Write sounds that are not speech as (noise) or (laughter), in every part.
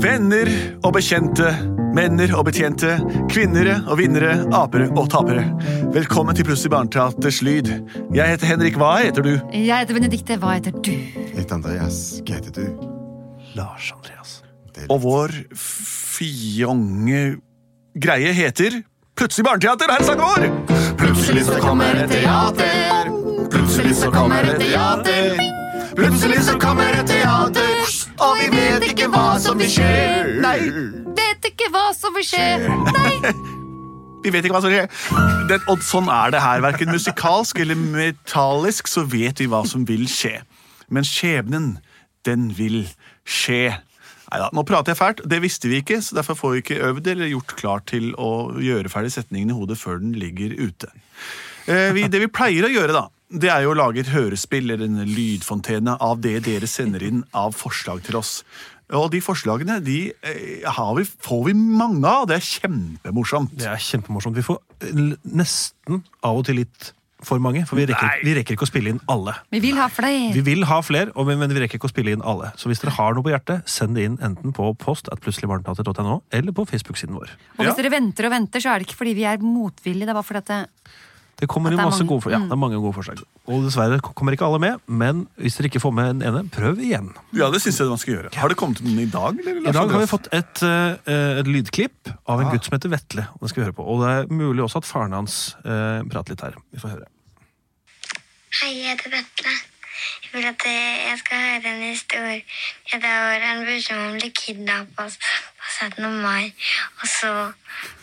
Venner og bekjente, menner og betjente, kvinnere og vinnere, apere og tapere. Velkommen til Plutselig barneteaters lyd. Jeg heter Henrik, hva heter du? Jeg heter Benedikte, hva heter du? Jeg heter Andreas. Hva heter du? Lars Andreas. Det er Og vår fjonge greie heter Plutselig barneteater, her snakker vår! Plutselig så kommer det teater. Plutselig så kommer det teater. Plutselig så kommer det teater. og vi vet ikke hva som vil skje. Nei, Vet ikke hva som vil skje. Nei. vi vet ikke hva som skjer. Det, og sånn er det her. Verken musikalsk eller metallisk så vet vi hva som vil skje. Men skjebnen, den vil skje. Neida, nå prater jeg fælt. Det visste vi ikke, så derfor får vi ikke øvd eller gjort klart til å gjøre ferdig setningen i hodet før den ligger ute. Eh, vi, det vi pleier å gjøre, da, det er jo å lage et hørespill eller en lydfontene av det dere sender inn av forslag til oss. Og de forslagene de eh, har vi, får vi mange av. Det er kjempemorsomt. Det er kjempemorsomt. Vi får eh, l- nesten av og til litt for mange, for vi rekker, Nei. vi rekker ikke å spille inn alle. Vi vil ha Vi flere. vil ha fler, og- men vi rekker ikke å spille inn alle. Så hvis dere har noe på hjertet, send det inn enten på post at plutseligbarneteater.no, eller på Facebook-siden vår. Og hvis Ja. dere venter og venter, så er det ikke fordi vi er motvillige. Det er bare fordi at eh, det, Det kommer At inn det er mange. masse Mm. gode, for- ja, det er mange gode forslag. Og dessverre k- kommer ikke alle med, men hvis dere ikke får med den ene, prøv igjen. Ja, det synes jeg man skal gjøre. Har det kommet noen i dag? Eller, I Lars dag har vi Andreas? fått et, eh, et lydklipp av en gutt som heter Vetle. Og det skal vi høre på. Og det er mulig også at faren hans eh, prater litt her. Vi får høre. Hei, jeg heter Vetle. Jeg vil at eh, jeg skal høre en historie. Det var en person som ble kidnappa på 17. mai. Og så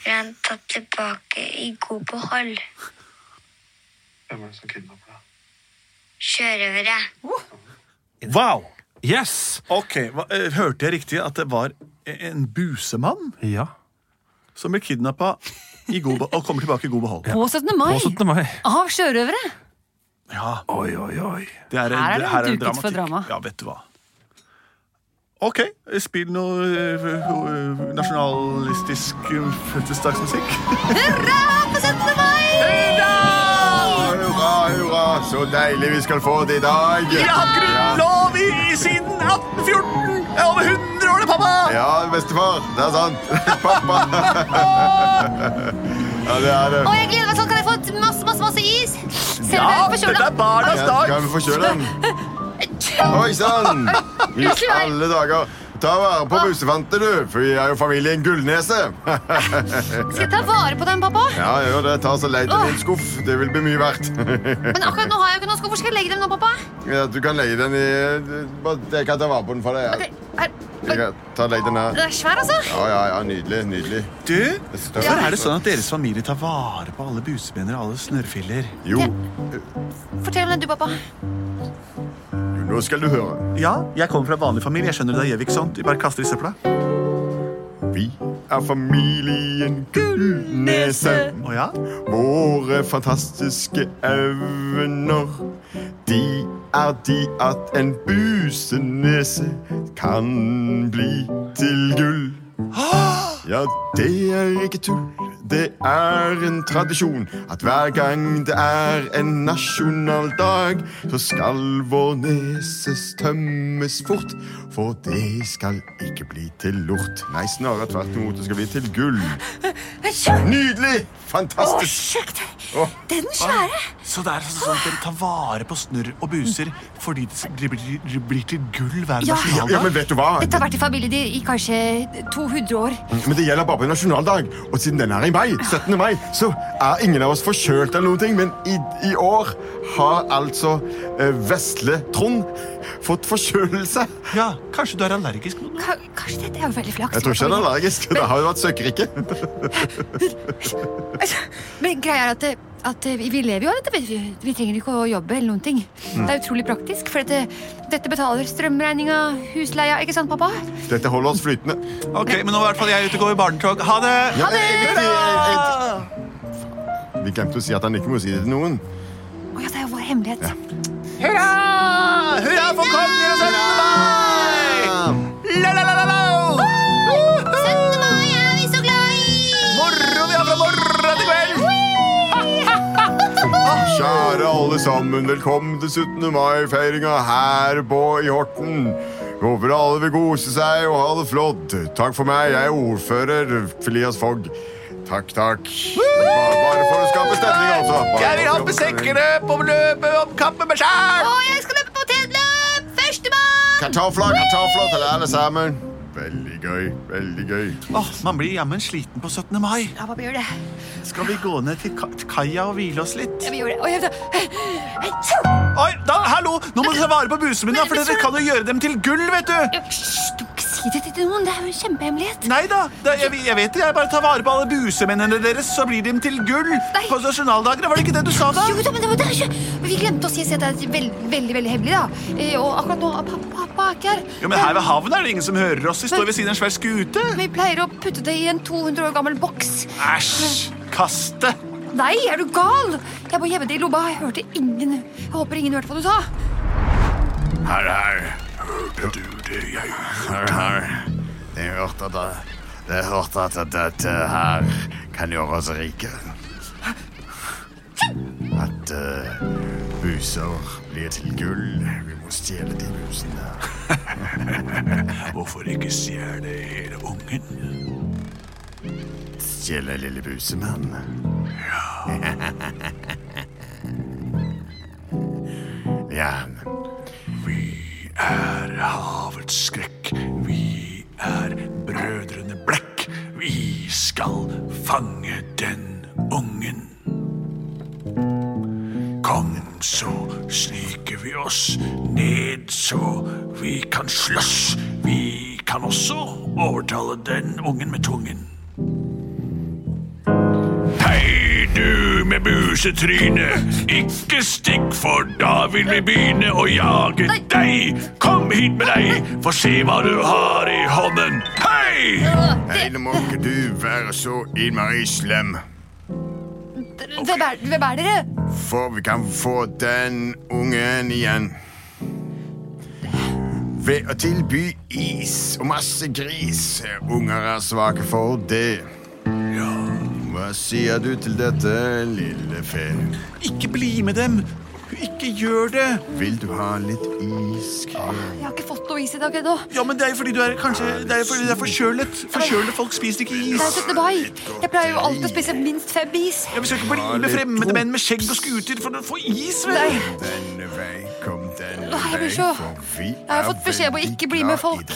ble han tatt tilbake i god behold. Hvem er det som kidnapper deg? Sjørøvere. Wow! Yes! Ok, hva, eh, Hørte jeg riktig at det var en busemann Ja. som ble kidnappa i god be- og kommer tilbake i god behold? på 17. mai På 17. mai. av sjørøvere. Ja, Oi, oi, oi. Det er, Her er det her duket for dramatikk. drama. Ja, vet du hva. Ok, spill noe øh, øh, nasjonalistisk øh, fødselsdagsmusikk. Hurra, hurra, så deilig vi skal få det i dag. grunnlov i, siden 1814! Jeg er over 100 år, det, pappa! Ja, bestefar. Det er sant. (laughs) Pappa. Ja, det er det. Å, jeg gleder meg sånn. Kan jeg få et masse, masse, masse is? Selv om jeg er på dette kjøla. er barnas Ja, dag! Kan vi få kjøre den? Oi sann! I alle dager. Ta vare på busefantet, du, for vi er jo familien Gullnese. Skal jeg ta vare på den, pappa? (laughs) Ja, gjør det. Ta så leit i din skuff. Det vil bli mye verdt. Men akkurat nå har jeg jo ikke noe sko. Hvor skal jeg legge dem nå, pappa? Ja, Du kan leie den i bare- Jeg kan ta vare på den for deg. Det Jeg, er, jeg kan ta leie den her. det er svær, altså. Ja, ja, ja. Nydelig. Nydelig. Du, Det er hvorfor større. er det sånn at deres familie tar vare på alle busemenner og alle snørrfiller? Jo, Fortell om den, du, pappa. nå skal du høre. Ja, jeg kommer fra vanlig familie. Jeg skjønner det gjør vi ikke sånt. Vi bare kaster i søpla. Vi er familien Gullnese. Å ja? Våre fantastiske evner De er de at en busenese Kan bli til gull Ja, det er ikke tull Det er en tradisjon At hver gang det er en nasjonaldag Så skal vår nese tømmes fort For det skal ikke bli til lort Nei, snarere tvert imot Det skal bli til gull Nydelig! Fantastisk! Sjukt. Åh. Den svære. Så det er altså sånn at dere tar vare på snørr og buser fordi det de blir, de blir til gull hver Ja. nasjonaldag? Ja, men vet du hva? Dette har vært i familiedyr i kanskje 200 år. Men det gjelder bare på nasjonaldag, og siden den er i mai, 17. mai, så er ingen av oss forkjølt eller noen ting, men i, i år har altså eh, vesle Trond fått forkjølelse. Ja, Kanskje du er allergisk mot noe? Ka- Kanskje dette er jo veldig flaks. Jeg tror ikke han er allergisk, det har jo vært søkkerike. Altså, Men greia er at, det- at eh, vi vi lever jo av dette. Vi, vi trenger ikke å jobbe eller noen ting. Det er utrolig praktisk, for dette, dette betaler strømregninga, husleia, ikke sant, pappa? Dette holder oss flytende. Ok, men nå er i hvert fall jeg ute og går i barnetog. Ha det! Ja, det er viktig. Hurra! Vi glemte å si at han ikke må si det til noen. Å ja, det er jo vår hemmelighet. Hurra! Hurra for konger og sønner! La, la, la, la, la! 17. mai er vi så glad i! Moro vi har fra morgen til kveld! Ah, Kjære alle sammen, velkommen til 17. mai-feiringa her på i Horten. Håper alle vil kose seg og ha det flott. Takk for meg, jeg er ordfører Felias Fogg. Takk, takk. Bare, bare for å skape stemning, altså. Bare Jeg vil for å hoppe skape stemning. sekkeløp og løpe om kapp med meg sjæl! Og jeg skal løpe potetløp! Førstemann! Kartofler, kartofler til alle sammen. Veldig gøy, veldig gøy. Åh, man blir jammen sliten på 17. mai. Ja, hva gjør det? Skal vi gå ned til ka- til kaia og hvile oss litt? Ja, vi gjør det. Oi, jeg, Oi, da, hallo! Nå må du ta vare på busene mine, da, for Men- men dere så- kan jo gjøre dem til gull, vet du! Hysj, du må ikke si det til noen. Det er jo en kjempehemmelighet. Nei da, det, jeg, jeg vet det. Jeg bare tar vare på alle busemennene deres, så blir de til gull. Nei. På nasjonaldagene, var det ikke det du sa da? Jo da, men det var det er ikke... Vi glemte å si at det er veldig, veldig, veldig hemmelig, da. Eh, Og akkurat nå er pappa, pappa er ikke her. Jo, men her ved havnen er det ingen som hører oss. Vi står ved siden av en svær skute. Vi pleier å putte det i en 200 år gammel boks. Æsj! Kast det! Nei, er du gal? Jeg må gjemme det i lomma. Jeg hørte ingen. Jeg håper ingen hørte hva du sa. Her, her. Hørte du det, jeg? Her, her. Jeg hørte at det. Jeg hørte at dette her kan gjøre oss rike. At eh, buser blir til gull. Vi må stjele de busene. Hvorfor ikke stjele hele ungen? Stjele lille busemann. (laughs) Ja. ja. Vi er havets skrekk. Vi er brødrene Blekk. Vi skal fange den ungen. Kom, så sniker vi oss ned, så vi kan slåss. Vi kan også overtale den ungen med tungen. Hei, du med busetryne. Ikke stikk, for da vil vi begynne å jage deg. Kom hit med deg, få se hva du har i hånden. Hei! Hei, nå må ikke du være så innmari slem, Hvem er, hvem er dere? for vi kan få den ungen igjen. Ved å tilby is og masse gris. Unger er svake for det. Ja. Hva sier du til dette, lille fe? Ikke bli med dem. Ikke gjør det. Vil du ha litt is? Jeg har ikke fått noe is i dag ennå. Ja, men Det er jo fordi du er kanskje, det er jo fordi du er forkjølet. Forkjølede folk spiser ikke Det er is. 17. mai. Jeg pleier jo alltid å spise minst fem is. Ja, Vi skal ikke bli med fremmede menn med skjegg og skuter for å få is. Nei, vel? Denne vei, kom denne Nei, jeg vei, blir så for vi Jeg har fått beskjed om å ikke bli med folk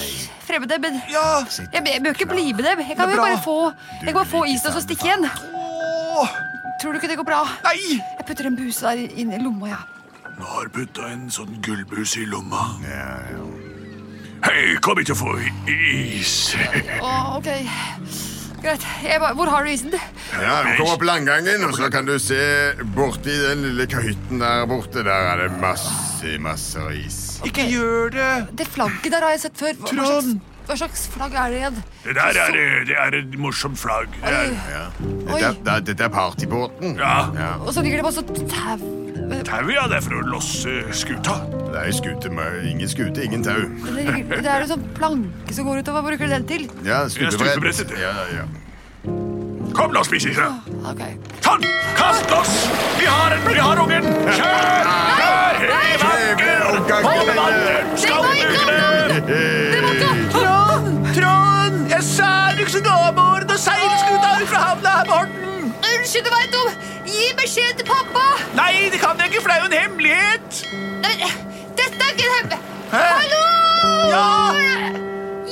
fremmede, men jeg, Ja. jeg bør ikke bli med dem. Jeg kan Det er jo bra. bare få, jeg kan bare få isen og så stikke igjen. Åh, Tror du ikke det går bra? nei! Jeg putter en buse der inn i lomma, ja. Nå har putta en sånn gullbus i lomma. Ja, ja. Hei, kom hit og få is. Å, ok. Greit. Jeg bare, hvor har du isen? Ja, vi kommer opp landgangen, og så kan du se borti den lille hytten der borte. Der er det masse, masse is. Ikke gjør det. Det flagget der har jeg sett før. Hva, hva, slags, hva slags flagg er det igjen? Det der er, det er et morsomt flagg. Det er, Ja. Oi. Dette, er- det- dette er partybåten. ja, Ja, Og så ligger det masse tau. tauet ja, det er for å losse skuta. det er jo skute med ingen skute, ingen tau. Det, ligger, det er en sånn planke som går ut, og hva bruker du den til? Ja, skutebrettet. skutebrettet. Ja, ja. Kom, la oss spise isen. Ok. Sånn, kast oss! Vi har, en, vi har ungen! Kjør! Kjør! Hev anker! Kjeve omgang. Hold vannet! Skal vi bruke det? Eh, Trond! Trond! Jeg sa du ikke skulle gå om bord og seile skuta ut fra havna her på Horten! Unnskyld, du veit om! Gi beskjed til pappa! Nei, det kan jeg ikke, for det er jo en hemmelighet! Nei, men, dette er ikke en hemme... Hæ? Hallo! Ja!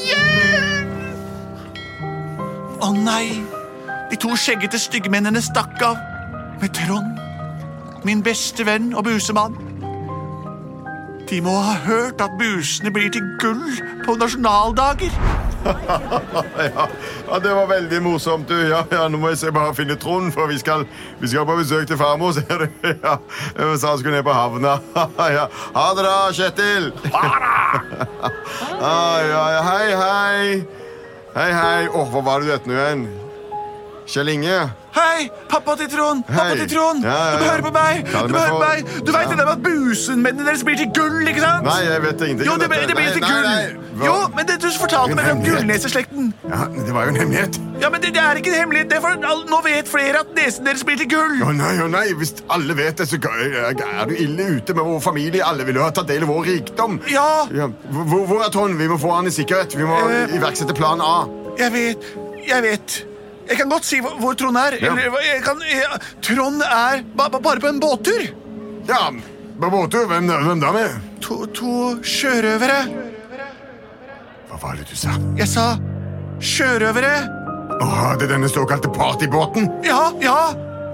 Hjelp! Å nei! De to skjeggete styggmennene stakk av med Trond, min beste venn og busemann. De må ha hørt at busene blir til gull på nasjonaldager. (laughs) Ja, det var veldig morsomt, du. Ja, ja, nå må jeg se bare finne Trond, for vi skal, vi skal på besøk til farmor, ser du. (laughs) Ja, jeg sa han skulle ned på havna. (laughs) Ja. Ha det da, Kjetil. Ah, (laughs) ja, ja. Hei, hei. Hei, hei. Åh, hva var det du het nå igjen? Kjell Inge? Hei, pappa til Trond! Pappa Hei. til Trond! Ja, ja, Du må ja. høre på meg! Kall Du må meg høre på for- meg! Du veit det der med at busenmennene deres blir til gull, ikke sant? Nei, jeg vet ingenting Jo, om det ble- dette. det ble Nei, til nei, gull. nei. Hva- Jo, men det du fortalte meg om gullneseslekten. Ja, men det var jo en hemmelighet. Ja, men det, det er ikke en hemmelighet. Det er for, all- nå vet flere at nesen deres blir til gull. Å nei, å nei, hvis alle vet det, så er er du ille ute med vår familie. Alle vil jo ha tatt del i vår rikdom. Ja. Hvor, hvor- hvor er Trond? Vi må få han i sikkerhet. Vi må Eh. iverksette plan A. Jeg vet, jeg vet. Jeg kan godt si hvor, hvor Trond er. Ja. Eller, hva- jeg kan, jeg, Trond er ba, ba, bare på en båttur. Ja, på båttur. Hvem, hvem da med? To, to sjørøvere. Hva var det du sa? Jeg sa sjørøvere. Åh, det er denne såkalte partybåten. Ja, ja.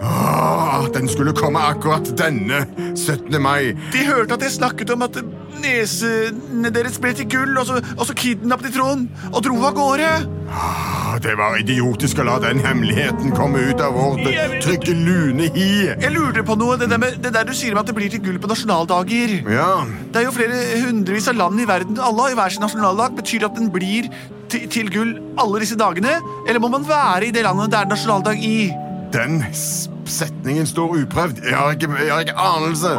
Åh, den skulle komme akkurat denne 17. mai. De hørte at jeg snakket om at nesene deres ble til gull, og så, og så kidnappet de Trond og dro av gårde. Åh, det var idiotisk å la den hemmeligheten komme ut av vår trygge lune hi. Jeg lurer på noe. Det der, med, det der du sier om at det blir til gull på nasjonaldager. Ja, Det er jo flere hundrevis av land i verden. Alle har jo hver sin nasjonaldag. Betyr det at den blir til, til gull alle disse dagene? Eller må man være i det landet det er nasjonaldag i? Den s- setningen står uprøvd. Jeg har ikke, jeg har ikke anelse.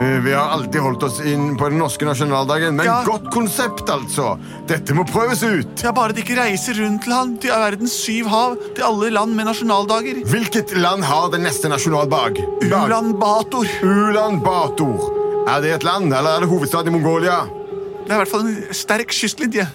Eh, Vi har alltid holdt oss inn på den norske nasjonaldagen, men Ja. godt konsept, altså. Dette må prøves ut. Ja, bare de ikke reiser rundt til han, til verdens syv hav, til alle land med nasjonaldager. Hvilket land har den neste nasjonaldag? Dag. Ulan Bator. Ulan Bator. Er det et land, eller er det hovedstaden i Mongolia? Det er i hvert fall en sterk kystlinje.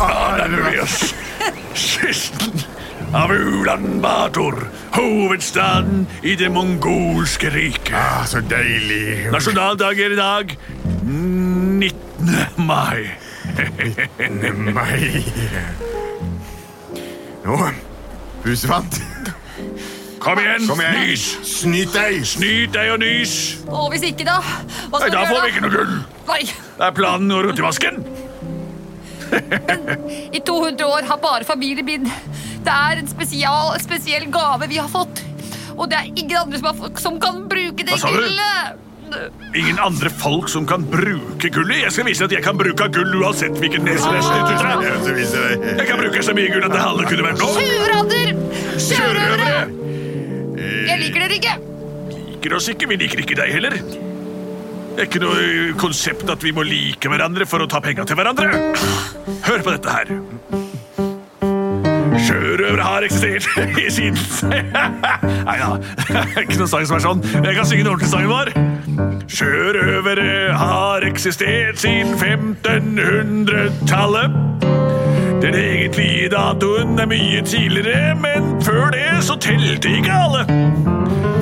Alelujas! Kysten av Ulan-Bator, hovedstaden i det mongolske riket. Ah, så deilig. Nasjonaldag er i dag 19. mai. Nei. Nå, husefant. Kom igjen, Kom igjen. nys! Snyt deg. Nyt deg og nys! Og hvis ikke, da? Hva Nei, skal da vi får gjøre vi ikke noe gull. Nei, Det er planen å rote i vasken. I 200 år har bare familie min. Det er en spesial, spesiell gave vi har fått. Og det er ingen andre som, har, fått- som kan bruke det Hva sa du? gullet. Ingen andre folk som kan bruke gullet. Jeg skal vise at jeg kan bruke gull uansett hvilket nese det er ut fra. Jeg skal vise deg. Jeg kan bruke så mye gull at det halve kunne vært nok. Tjuvradder! Sjørøvere! Sjørøvere! Jeg liker dere ikke. Eh, liker oss ikke, vi liker ikke deg heller. Det er ikke noe ø, konsept at vi må like hverandre for å ta penga til hverandre. Hør på dette her. Sjørøvere har eksistert (laughs) i siden Nei da, (laughs) ikke noen sang som er sånn. Jeg kan synge den ordentlige sangen vår. Sjørøvere har eksistert siden 1500-tallet. Den egentlige datoen er mye tidligere, men før det så telte ikke alle.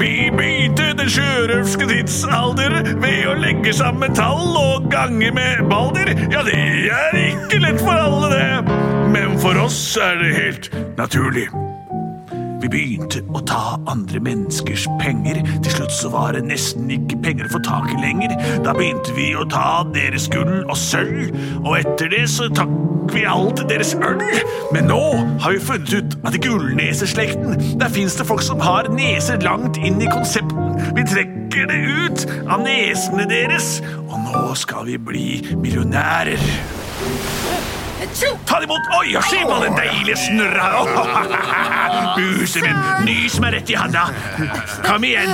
Vi begynte den sjørøverske tidsalder ved å legge sammen tall og gange med balder. Ja, det er ikke lett for alle, det. Men for oss er det helt naturlig. Vi begynte å ta andre menneskers penger. Til slutt så var det nesten ikke penger å få tak i lenger. Da begynte vi å ta deres gull og sølv, og etter det så trakk vi alt deres øl. Men nå har vi funnet ut at i gullneseslekten, der fins det folk som har neser langt inn i konsepten. Vi trekker det ut av nesene deres, og nå skal vi bli millionærer. Ta det imot! Oi, ja, se på den deilige snurra! Åh, Buse min, nys meg rett i handa. Kom igjen.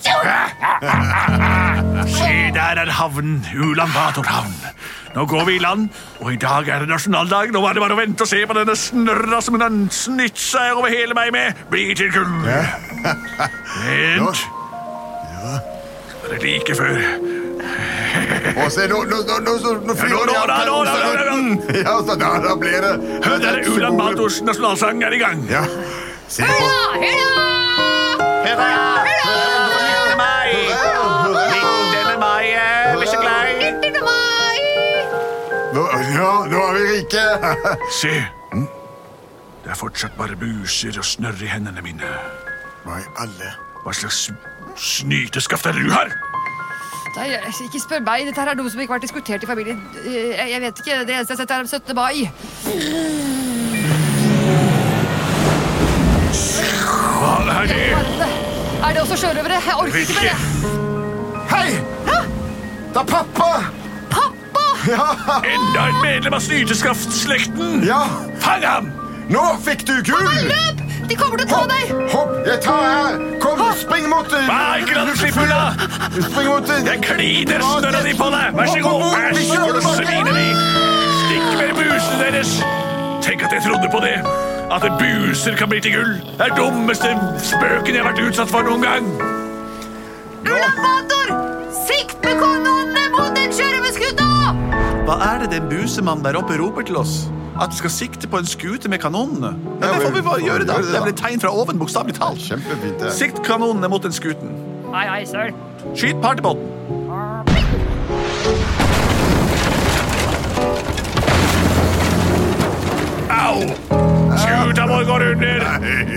Se, der er havnen. Ulan Bator-havn. Nå går vi i land, og i dag er det nasjonaldag. Nå var det bare å vente og se på denne snørra som hun har snytt seg over hele meg med. Bli til gull. Vent. Det er like før. Og se, nå, nå, nå, nå, nå, nå nå, flyr nå, nå, nå, nå, nå, nå, nå. de Ja, så da, da blir det Hør, der er Ulan Bators nasjonalsang er i gang. Ja. Se. Ja, hurra! Hurra! Hurra! Hurra meg! Nå, ja, nå er vi rike. (laughs) Se. Hm? Det er fortsatt bare buser og snørr i hendene mine. Hva i alle Hva slags snyteskaft er det du har? Nei, ikke spør meg. Dette her er noe som ikke har vært diskutert i familien. Eh, Jeg, jeg vet ikke. Det eneste jeg har sett, er 17. mai. Hva er det? Helvete. Er det også sjørøvere? Jeg orker ikke mer. Hvilke? jeg. Hei! Det er pappa! Pappa! (laughs) Ja, Enda et medlem av snyteskaftslekten! ja. Fang ham! Nå fikk du gull! Løp! De kommer til å ta Hopp, deg! hopp, jeg tar her. Kom, spring mot den. Nei, ikke la den slippe unna! Spring mot den. Jeg kliner snørra di på deg! Vær så god, vær så god, svineri! Stikk med busene deres! Tenk at jeg trodde på det! At buser kan bli til gull. Det er dummeste spøken jeg har vært utsatt for noen gang. Ulamator! Sikt med kanonene mot den sjørøverskuta! Hva er det den busemannen der oppe roper til oss? At vi skal sikte på en skute med kanonene? Ja, Ja, det får men- vi bare gjøre, da. gjør det, Det er da. vel et tegn fra oven, bokstavelig talt. Kjempefint, det. Sikt kanonene mot den skuten. Hei, hei, søren. Skyt partybåten. Au! Skuta vår går under!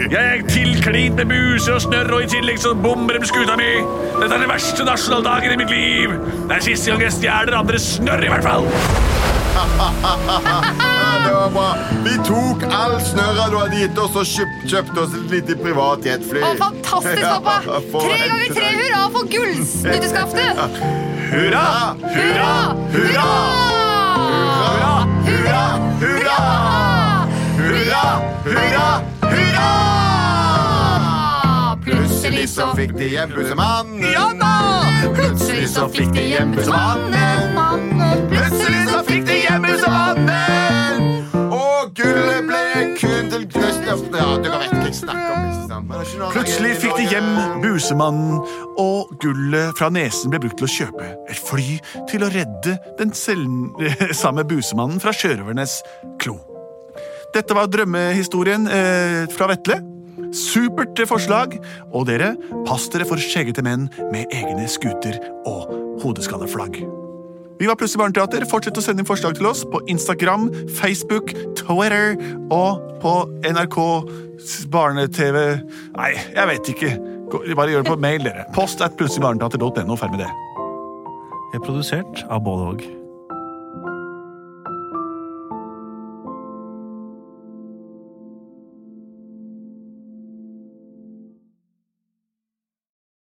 Jeg er tilklint med buser og snørr, og i tillegg så bomber de skuta mi! Dette er den verste nasjonaldagen i mitt liv! Det er siste gang jeg stjeler andres snørr, i hvert fall! Ja, det var bra. Vi tok all snørra du hadde gitt oss, og kjøpt, kjøpte oss et lite privat jetfly. Å, fantastisk, pappa! (laughs) Ja, for Tre en ganger tre dag. hurra for gullsnytteskaftet! Hurra! Hurra! Hurra! Hurra! Hurra! Hurra! Hurra! Hurra! Hurra! Plutselig så fikk de en bussemannen. Ja da! Plutselig så fikk de hjem bussemannen. Mannen. Plutselig så fikk de hjem bussemannen. Og gullet ble kun til knøst. Ja, du kan vet ikke snakke om bussemannen. Plutselig fikk de hjem busemannen, og gullet fra nesen ble brukt til å kjøpe et fly til å redde den selv, samme busemannen fra sjørøvernes klo. Dette var drømmehistorien eh, fra Vetle. Supert forslag. Og dere, pass dere for skjeggete menn med egne skuter og hodeskalleflagg. Vi var Plutselig barneteater. Fortsett å sende inn forslag til oss på Instagram, Facebook, Twitter og på NRK barne-TV Nei, jeg vet ikke. Gå- Bare gjør det på mail, dere. Post at plutseligbarneteater.no. Ferdig med det. er produsert av både og.